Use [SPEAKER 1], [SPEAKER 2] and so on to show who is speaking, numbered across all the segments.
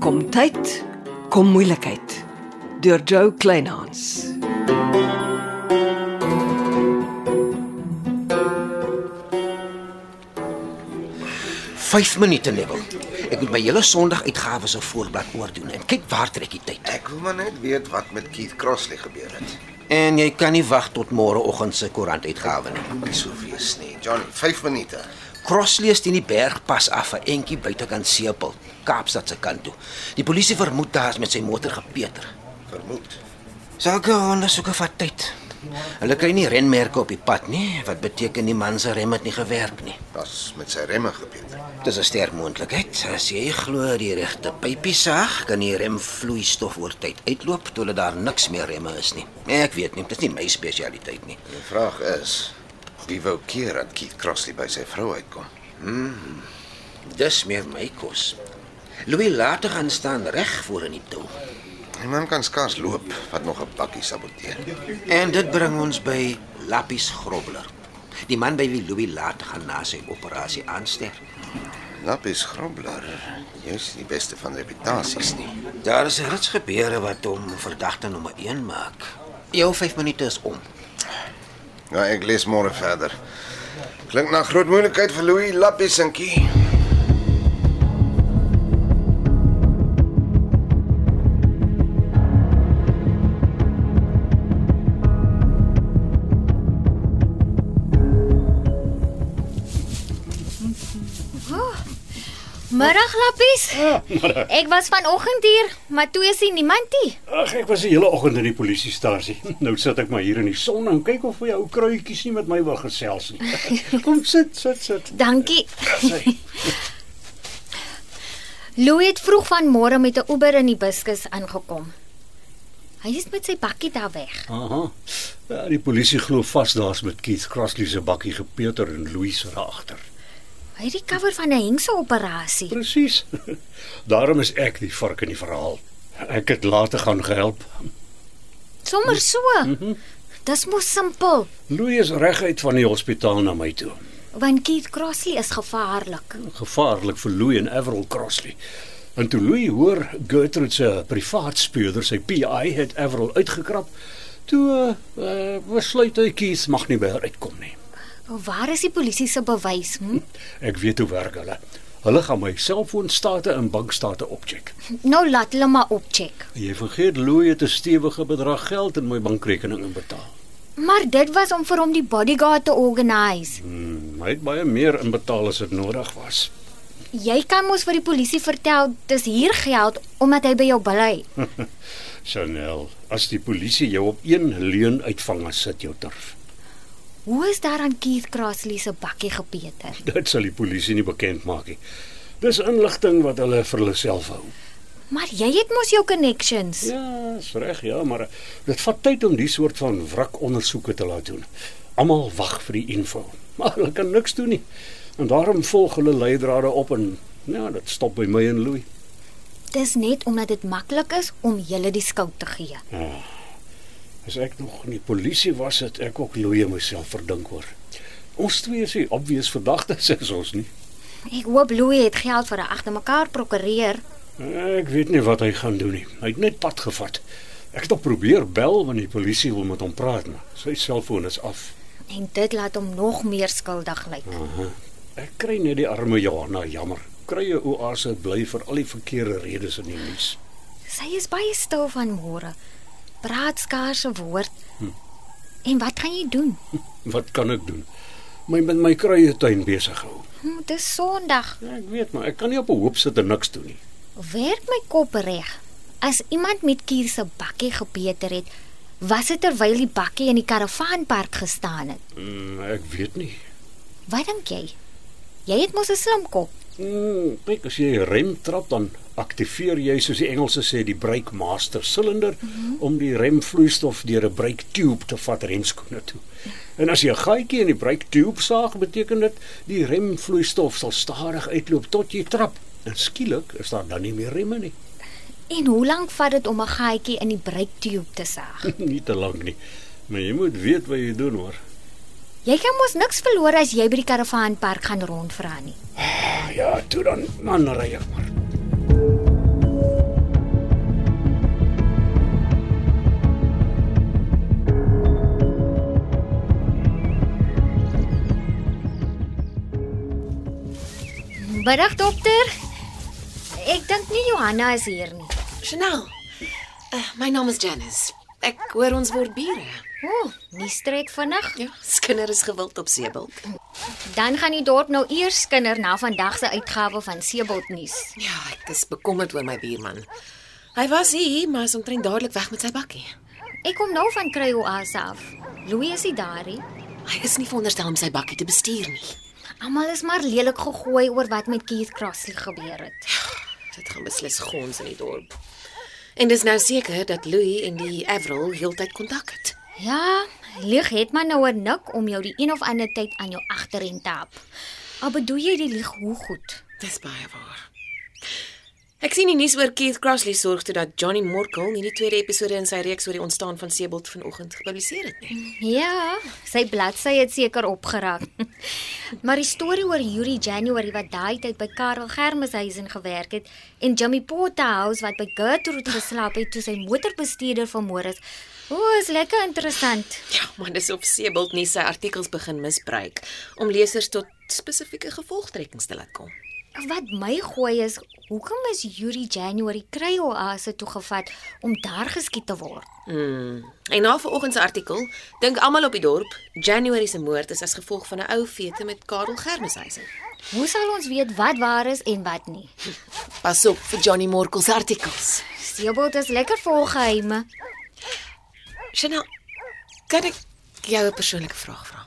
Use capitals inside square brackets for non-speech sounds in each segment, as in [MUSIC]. [SPEAKER 1] Gesondheid kom moeilikheid deur Jo Kleinhans.
[SPEAKER 2] Vijf minuten, Neville. Ik moet mijn hele zondag uitgaven zijn voorblad oordoen. En kijk waar trek ik tijd.
[SPEAKER 3] Ek wil maar net weet wat met Keith Crossley gebeur het.
[SPEAKER 2] En jy kan nie wag tot môreoggend se koerantuitgawe nie.
[SPEAKER 3] Moenie so wees nie. John, 5 minute.
[SPEAKER 2] Crossley is teen die bergpas af 'n entjie buitekant Seepel, Kaapstad se kant toe. Die polisie vermoed daar is met sy motor gepeter.
[SPEAKER 3] Vermoed.
[SPEAKER 2] Sulke ondersoeke vat tyd. Hulle kry nie renmerke op die pad nie, wat beteken die man se rem het nie gewerk nie.
[SPEAKER 3] Das met sy remme gepeter.
[SPEAKER 2] Dis 'n sterk moontlikheid. As jy glo die regte pypie sag, kan die remvloeistof oor tyd uitloop tot daar niks meer remme is nie. Nee, Ek weet nie, dit is nie my spesialiteit nie.
[SPEAKER 3] Die vraag is, wie wou keer dat Keith Crossley by sy vrou uitkom?
[SPEAKER 2] Dis meer my kos. Louis later gaan staan reg voor in die tou.
[SPEAKER 3] Die man kan skaars loop wat nog 'n bakkie saboteer.
[SPEAKER 2] En dit bring ons by Lappies Grobler. Die man by wie Louis later gaan na sy operasie aansterf.
[SPEAKER 3] Lap is grobbler. Jy's nie die beste van reputasies nie.
[SPEAKER 2] Daar is reeds gebeure wat hom verdagte nommer 1 maak. Jou 5 minute is om.
[SPEAKER 3] Nou ek lees môre verder. Klink na groot moeilikheid vir Louis Lappiesentjie.
[SPEAKER 4] Middag lappies.
[SPEAKER 5] eh,
[SPEAKER 4] Ek was vanoggend hier, maar toe is hier niemand nie.
[SPEAKER 5] Ag, ek was die hele oggend in die polisiestasie. [LAUGHS] Nou sit ek maar hier in die son en kyk of my ou kruitjies nie met my wil gesels nie. [LAUGHS] Kom sit, sit, sit.
[SPEAKER 4] Dankie.
[SPEAKER 5] Sê,
[SPEAKER 4] [LAUGHS] Louis het vroeg vanmôre met 'n Uber in die buskus aangekom. Hy is met sy bakkie daar weg.
[SPEAKER 5] aha. Ja, die polisie glo vas daar's met Keith Crossley se bakkie gepeter en Louis raag agter.
[SPEAKER 4] Hy het die cover van 'n hengse operasie.
[SPEAKER 5] Presies. [LAUGHS] Daarom is ek die vark in die verhaal. Ek het later gaan gehelp.
[SPEAKER 4] Sommer so. Dis mos simpel,
[SPEAKER 5] Louis is reguit van die hospitaal na my toe.
[SPEAKER 4] want Keith Crossley is gevaarlik.
[SPEAKER 5] gevaarlik vir Louis en Averill Crossley. En toe Louis hoor Gertrude se privaat speurder, sy PI het Averill uitgekrap, toe uh, uh, besluit hy Keith mag nie by haar uitkom nie.
[SPEAKER 4] Waar is die polisie se bewys? Hm?
[SPEAKER 5] Ek weet hoe werk hulle. Hulle gaan my selfoonstate en bankstate opcheck.
[SPEAKER 4] Nou laat hulle maar opcheck.
[SPEAKER 5] Jy vergeet Louis het 'n stewige bedrag geld in my bankrekening inbetaal.
[SPEAKER 4] Maar dit was om vir hom die bodyguard te organise.
[SPEAKER 5] Hmm, hy het baie meer inbetaal as dit nodig was.
[SPEAKER 4] Jy kan mos vir die polisie vertel dis hier geld omdat hy by jou bly.
[SPEAKER 5] Chanel, as die polisie jou op een leuen uitvang, as sit jou turf.
[SPEAKER 4] Hoe is daar aan Keith Crossley se bakkie gepeter?
[SPEAKER 5] [LAUGHS] Dit sal die polisie nie bekend maak nie. Dis inligting wat hulle vir hulle self hou.
[SPEAKER 4] Maar jy het mos jou connections.
[SPEAKER 5] Ja, is reg, ja, maar dit vat tyd om die soort van wrakondersoeke te laat doen. Almal wag vir die info, [LAUGHS] maar hulle kan niks doen nie. En daarom volg hulle leidrade op en ja, dit stop by my en Louis.
[SPEAKER 4] Dis net omdat dit maklik is om julle die skuld te gee.
[SPEAKER 5] As ek nog in die polisie was, het ek ook Louis en myself verdink hoor. Ons twee is nie obvious verdagtes [LAUGHS] is ons nie.
[SPEAKER 4] Ek hoop Louis het geld vir 'n agter mekaar prokureer.
[SPEAKER 5] Ek weet nie wat hy gaan doen nie. Hy het net pad gevat. Ek het al probeer bel want die polisie wil met hom praat, maar sy selfoon is af.
[SPEAKER 4] En dit laat hom nog meer skuldig lyk.
[SPEAKER 5] Ek kry net die arme Johanna jammer. Kry 'n oase bly vir al die verkeerde redes in die nuus.
[SPEAKER 4] Sy is baie stil vanmôre. Praat skaars 'n woord. En wat gaan jy doen?
[SPEAKER 5] Wat kan ek doen? My met my kruie tuin besig hou.
[SPEAKER 4] Hm, Dis Sondag.
[SPEAKER 5] Ja, Ek weet maar, ek kan nie op 'n hoop sit en niks doen nie.
[SPEAKER 4] Werk my kop reg. As iemand met kier se bakkie gepeter het, was dit terwyl die bakkie in die karavaanpark gestaan het.
[SPEAKER 5] Mm, ek weet nie.
[SPEAKER 4] Wat dink jy? Jy het mos 'n slim kop.
[SPEAKER 5] Mm, kyk as jy rem trap dan aktiveer jy soos die Engelse sê die brake master silinder mm -hmm. om die remvloeistof deur 'n brake tube te vat remskoene toe. En as jy 'n gaatjie in die brake tube saag, beteken dit die remvloeistof sal stadig uitloop tot jy trap. En skielik is daar dan nie meer remme nie. [LAUGHS]
[SPEAKER 4] En hoe lank vat dit om 'n gaatjie in die breuktube te saag?
[SPEAKER 5] nie te lank nie. Maar jy moet weet wat jy doen hoor.
[SPEAKER 4] Jy kan mos niks verloor as jy by die karavaanpark gaan
[SPEAKER 5] Ah,
[SPEAKER 4] rondvra nie.
[SPEAKER 5] Ja, toe dan, man ry ek maar.
[SPEAKER 4] Middag dokter. Ek dink nie Johanna is hier nie.
[SPEAKER 6] Chanel. Uh, my naam is Janice. Ek hoor ons word bure.
[SPEAKER 4] O, oh, nie strek vinnig.
[SPEAKER 6] Ja, skinder is gewild op Seebulk.
[SPEAKER 4] Dan gaan die dorp nou eers kinder na vandag se uitgawe van Seebot nuus.
[SPEAKER 6] Ja, ek is bekommerd oor my buurman. Hy was hier, maar is omtrent dadelik weg met sy bakkie.
[SPEAKER 4] Ek kom nou van Kryoas af. Louis is nie daar nie.
[SPEAKER 6] Hy is nie veronderstel om sy bakkie te bestuur nie.
[SPEAKER 4] Almal is maar lelik gegooi oor wat met Keith Crossley gebeur het.
[SPEAKER 6] Dit gaan beslis gons in die dorp. En dis nou seker dat Louis en die Avril heeltyd kontak het.
[SPEAKER 4] Ja, lieg het maar nou 'n nik om jou die een of ander tyd aan jou agterend te hap. Al bedoel jy die lieg hoe goed?
[SPEAKER 6] Dis baie waar. Ek sien die nuus oor Keith Crossley sorg toe dat Johnny Morkel nie die tweede episode in sy reeks oor die ontstaan van Seebald vanoggend gepubliseer het nie.
[SPEAKER 4] Ja, sy bladsy het seker opgeraak. [LAUGHS] maar die storie oor Yuri January wat daai tyd by Karel Germeshuisen gewerk het en Jimmy Potterhouse wat by Gertrude geslaap het toe sy motorbestuurder vermoor is. O, is lekker interessant.
[SPEAKER 6] Ja, maar dis op Seebald nie sy artikels begin misbruik om lesers tot spesifieke gevolgtrekkings te laat kom.
[SPEAKER 4] Wat my gooi is, hoekom is Yuri January kryoase toe gevat om daar geskiet te word?
[SPEAKER 6] En na vanoggend se artikel dink almal op die dorp January se moord is as gevolg van 'n ou fete met Karel Germeshuisen.
[SPEAKER 4] Hoe sal ons weet wat waar is en wat nie?
[SPEAKER 6] Pas op vir Johnny Morkel se artikels.
[SPEAKER 4] Seebot is lekker vol geheime.
[SPEAKER 6] Chanel, kan ek jou 'n persoonlike vraag vra?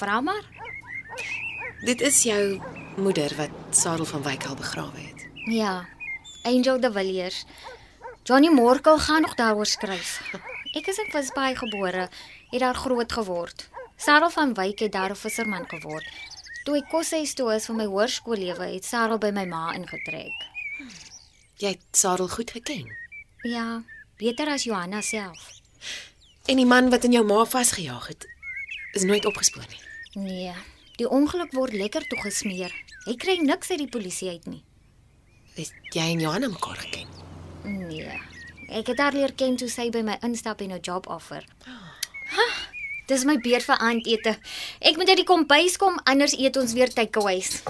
[SPEAKER 4] Vra maar.
[SPEAKER 6] Dit is jou moeder wat Sarel van Wyk al begrawe het.
[SPEAKER 4] Ja. Angel de Villiers. Johnny Morkel gaan nog daaroor skryf. Ek is in Visbaai gebore, het daar groot geword. Sarel van Wyk het daar 'n visserman geword. Toe ek koshuis toe is vir my hoërskoollewe, het Sarel by my ma ingetrek.
[SPEAKER 6] Jy het Sarel goed geken.
[SPEAKER 4] Ja, beter as Johanna self.
[SPEAKER 6] En die man wat in jou ma vasgejaag het, is nooit opgespoor nie.
[SPEAKER 4] Nee, die ongeluk word lekker toegesmeer. Hy kry niks uit die polisie uit nie.
[SPEAKER 6] Het jy en Johanna mekaar geken?
[SPEAKER 4] Nee. Ek het haar leer ken toe sy by my instap en 'n job offer. Ha, dis my beurt vir aandete. Ek moet uit die kombuis kom anders eet ons weer takeaways.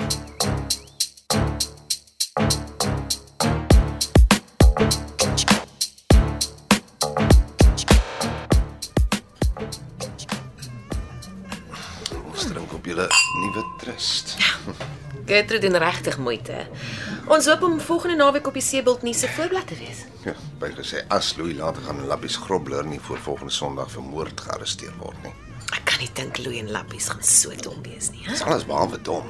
[SPEAKER 3] Ons drink op julle nuwe trust.
[SPEAKER 6] Gertrude doen regtig moeite. Ons hoop om volgende naweek op die Seebult nuus se voorblad te wees.
[SPEAKER 3] Ja, bygesê as Louis later gaan Lappies Grobler nie voor volgende Sondag vir moord gearresteer word nie.
[SPEAKER 6] Ek kan nie dink Louie en Lappies gaan so dom wees nie. Hè?
[SPEAKER 3] Dis alles behalwe dom.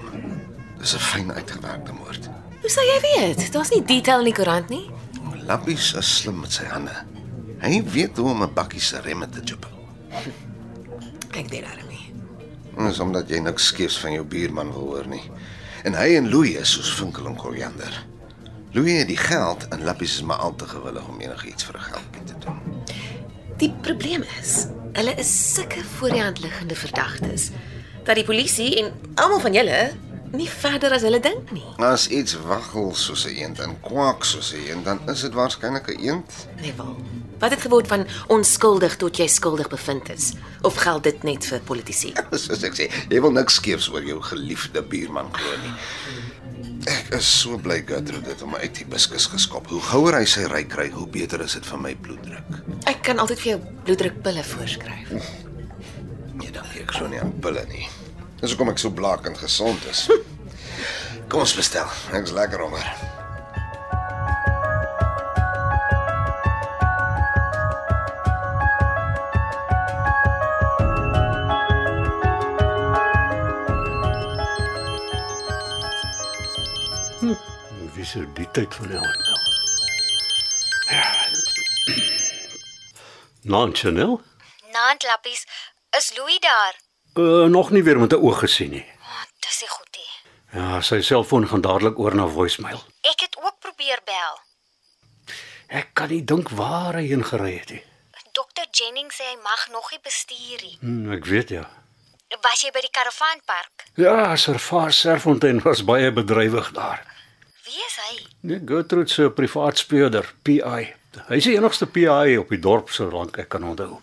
[SPEAKER 3] Dis 'n fyn uitgewerkte moord.
[SPEAKER 6] Hoe sou jy weet? Daar's nie detail in die koerant nie.
[SPEAKER 3] Lappies is slim met sy hande. Hy weet hoe om 'n bakkie se remme te jop.
[SPEAKER 6] Ek dink daarom nie.
[SPEAKER 3] Dis omdat jy niks skeefs van jou buurman wil hoor nie. En hy en Louis is soos vinkel en koriander. Louis het die geld en Lappies is maar al te gewillig om enigiets vir 'n geldjie te doen.
[SPEAKER 6] Die probleem is, hulle is sulke voor die hand liggende verdagtes dat die polisie en almal van julle nie verder as hulle dink nie.
[SPEAKER 3] As iets waggel soos 'n eend en kwak soos 'n eend, dan is dit waarskynlik 'n eend.
[SPEAKER 6] Neville, Nee, wat het geword van onskuldig tot jy skuldig bevind is? Of geld dit net vir politici?
[SPEAKER 3] [LAUGHS] Soos ek sê, jy wil niks skeefs oor jou geliefde buurman glo nie. Ek is so bly Gertrude het hom uit die biskus geskop. Hoe gouer hy sy ry kry, hoe beter is dit vir my bloeddruk.
[SPEAKER 6] Ek kan altyd vir jou bloeddrukpille voorskryf.
[SPEAKER 3] Nee, dankie, ek glo nie aan pille nie. Dis hoekom ek so blakend gesond is. Kom ons bestel. Ek's lekker honger.
[SPEAKER 5] Nou, Wie sou die tyd van die aand nou? [CLEARS THROAT] bel? Nan Chanel?
[SPEAKER 4] Naand lappies, is Louis daar?
[SPEAKER 5] Uh, nog nie weer met 'n oog gesien nie.
[SPEAKER 4] Oh, dis nie goed nie.
[SPEAKER 5] Ja, sy selfoon gaan dadelik oor na voicemail.
[SPEAKER 4] Ek het ook probeer bel.
[SPEAKER 5] Ek kan nie dink waar hy heen gery het nie.
[SPEAKER 4] Dr Jennings sê hy mag nog nie bestuur nie.
[SPEAKER 5] Hm, ek weet ja.
[SPEAKER 4] Was jy by die karavaanpark?
[SPEAKER 5] Ja, Servaar Serfontein was baie bedrywig daar.
[SPEAKER 4] Wie is hy?
[SPEAKER 5] Nee, Gertrude se privaat speurder, PI. Hy's die enigste PI op die dorp so lank ek kan onthou.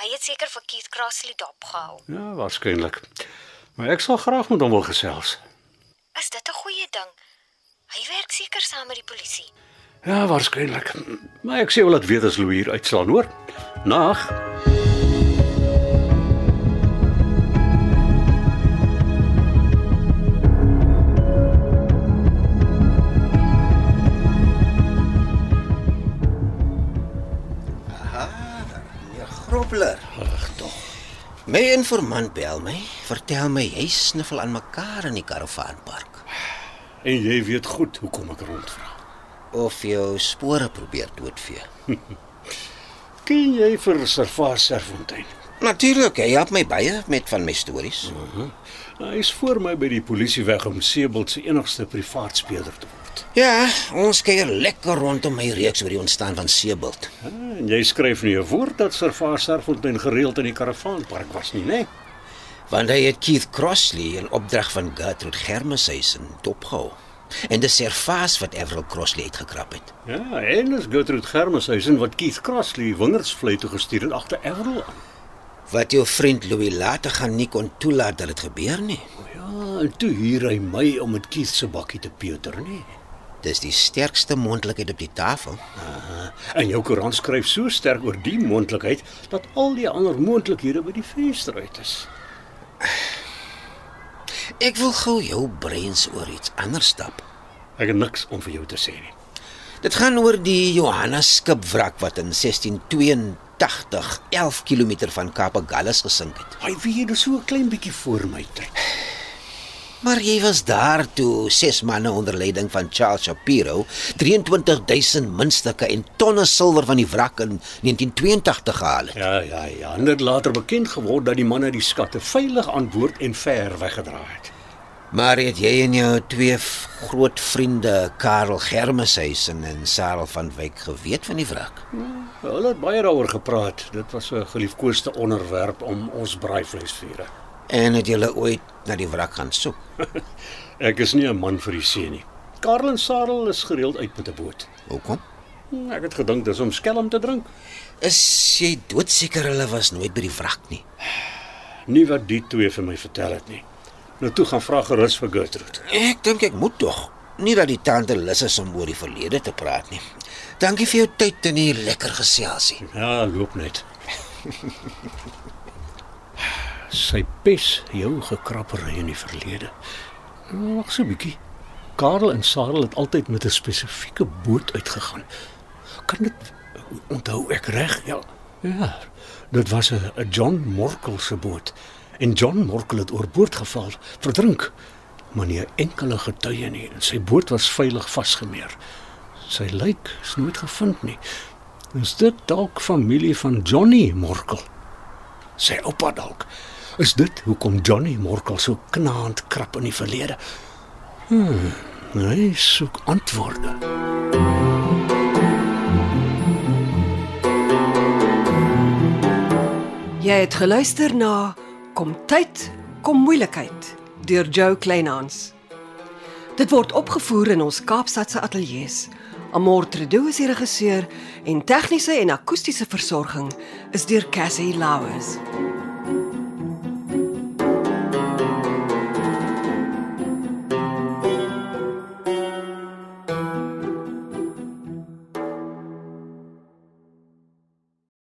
[SPEAKER 4] Hy het seker vir Keith Crossley dopgehaal.
[SPEAKER 5] Ja, waarskynlik. Maar ek sal graag met hom wil gesels.
[SPEAKER 4] Is dit 'n goeie liewer saam met die polisie.
[SPEAKER 5] Ja, waarskynlik. Maar ek sê wel dat weet as Louw hier uitslaan, hoor. Nag.
[SPEAKER 2] Ja, grobbler. Ag tog. My informant bel my, vertel my jy sniffel aan mekaar in die karavaanpark
[SPEAKER 5] En jy weet goed hoekom ek rondvra.
[SPEAKER 2] of jou spore probeer doodvee.
[SPEAKER 5] Ken jy vir Servaas Serfontein?
[SPEAKER 2] Natuurlik, hy help my baie met van my stories.
[SPEAKER 5] Hy is voor my by die polisie weg om Sebelt se enigste privaat speler te word.
[SPEAKER 2] Ja, ons kuier lekker rondom my reeks oor die ontstaan van Seebult.
[SPEAKER 5] En jy skryf nie 'n woord dat Servaas Serfontein gereeld in die karavaanpark was nie, né?
[SPEAKER 2] Want hy het Keith Crossley in opdrag van Gertrude Germeshuisen dopgehou. En dis Servaas wat Avril Crossley uitgekrap het.
[SPEAKER 5] Ja, en is Gertrude Germeshuisen wat Keith Crossley wingerdsvlei toe gestuur het agter Everal aan.
[SPEAKER 2] Wat jou vriend Louis later gaan nie kon toelaat dat dit gebeur nie.
[SPEAKER 5] Ja, en toe huur hy my om met Keith se bakkie te peuter, né?
[SPEAKER 2] Dis die sterkste moontlikheid op die tafel.
[SPEAKER 5] En jou koerant skryf so sterk oor die moontlikheid dat al die ander moontlikhede by die venster uit is.
[SPEAKER 2] Ek wil gou jou breins oor iets anders stap.
[SPEAKER 5] Ek het niks om vir jou te sê nie.
[SPEAKER 2] Dit gaan oor die Johannes skipwrak wat in 1682 11 km van Kaapagallus gesink het.
[SPEAKER 5] Hy weet dis so 'n klein bietjie voor my tyd.
[SPEAKER 2] Maar jy was daar toe ses manne onder leiding van Charles Shapiro 23000 muntstukke en tonne silwer van die wrak in 1982 gehaal het.
[SPEAKER 5] Ja, ja, ja. En dit later bekend geword dat die man uit die skatte veilig antwoord en ver weggedraai het.
[SPEAKER 2] Maar het jy en jou twee f- groot vriende Karel Germeshuisen en Sarel van Wyk geweet van die wrak?
[SPEAKER 5] Hulle het baie daaroor gepraat. Dit was 'n geliefkoeste onderwerp om ons braaivleisvuure.
[SPEAKER 2] En het julle ooit na die wrak gaan soek?
[SPEAKER 5] Ek is nie 'n man vir die see nie. Karl en Sarel is gereeld uit met 'n boot.
[SPEAKER 2] Hoekom?
[SPEAKER 5] Hm, Ek het gedink dis om skelm te drink.
[SPEAKER 2] Is jy doodseker hulle was nooit by die wrak nie?
[SPEAKER 5] Nie wat die twee vir my vertel het nie. Nou toe gaan vra gerus vir Gertrude.
[SPEAKER 2] Ek dink ek moet tog. Nie dat die tante lus is om oor die verlede te praat nie. Dankie vir jou tyd en hier lekker geselsie.
[SPEAKER 5] Ja, loop net. [LAUGHS] Sy pes jou gekrappery in die verlede. Wag so 'n bietjie. Karel en Sarel het altyd met 'n spesifieke boot uitgegaan. Kan dit onthou ek reg? Ja. Ja. Dit was 'n 'n John Morkel se boot. En John Morkel het oorboord geval, verdrink. Maar nie 'n enkele getuie nie. En Sy boot was veilig vasgemeer. Sy lijk is nooit gevind nie. Is dit dalk familie van Johnny Morkel? Sy oupa dalk. Is dit hoekom Johnny Morkel so knaand krap in die verlede? Hmm, hy soek antwoorde.
[SPEAKER 1] Jy het geluister na Kom tyd, kom moeilikheid deur Jo Kleinhans. Dit word opgevoer in ons Kaapstadse ateljee se. Amortredo is die regisseur en tegniese en akoestiese versorging is deur Cassie Lauers.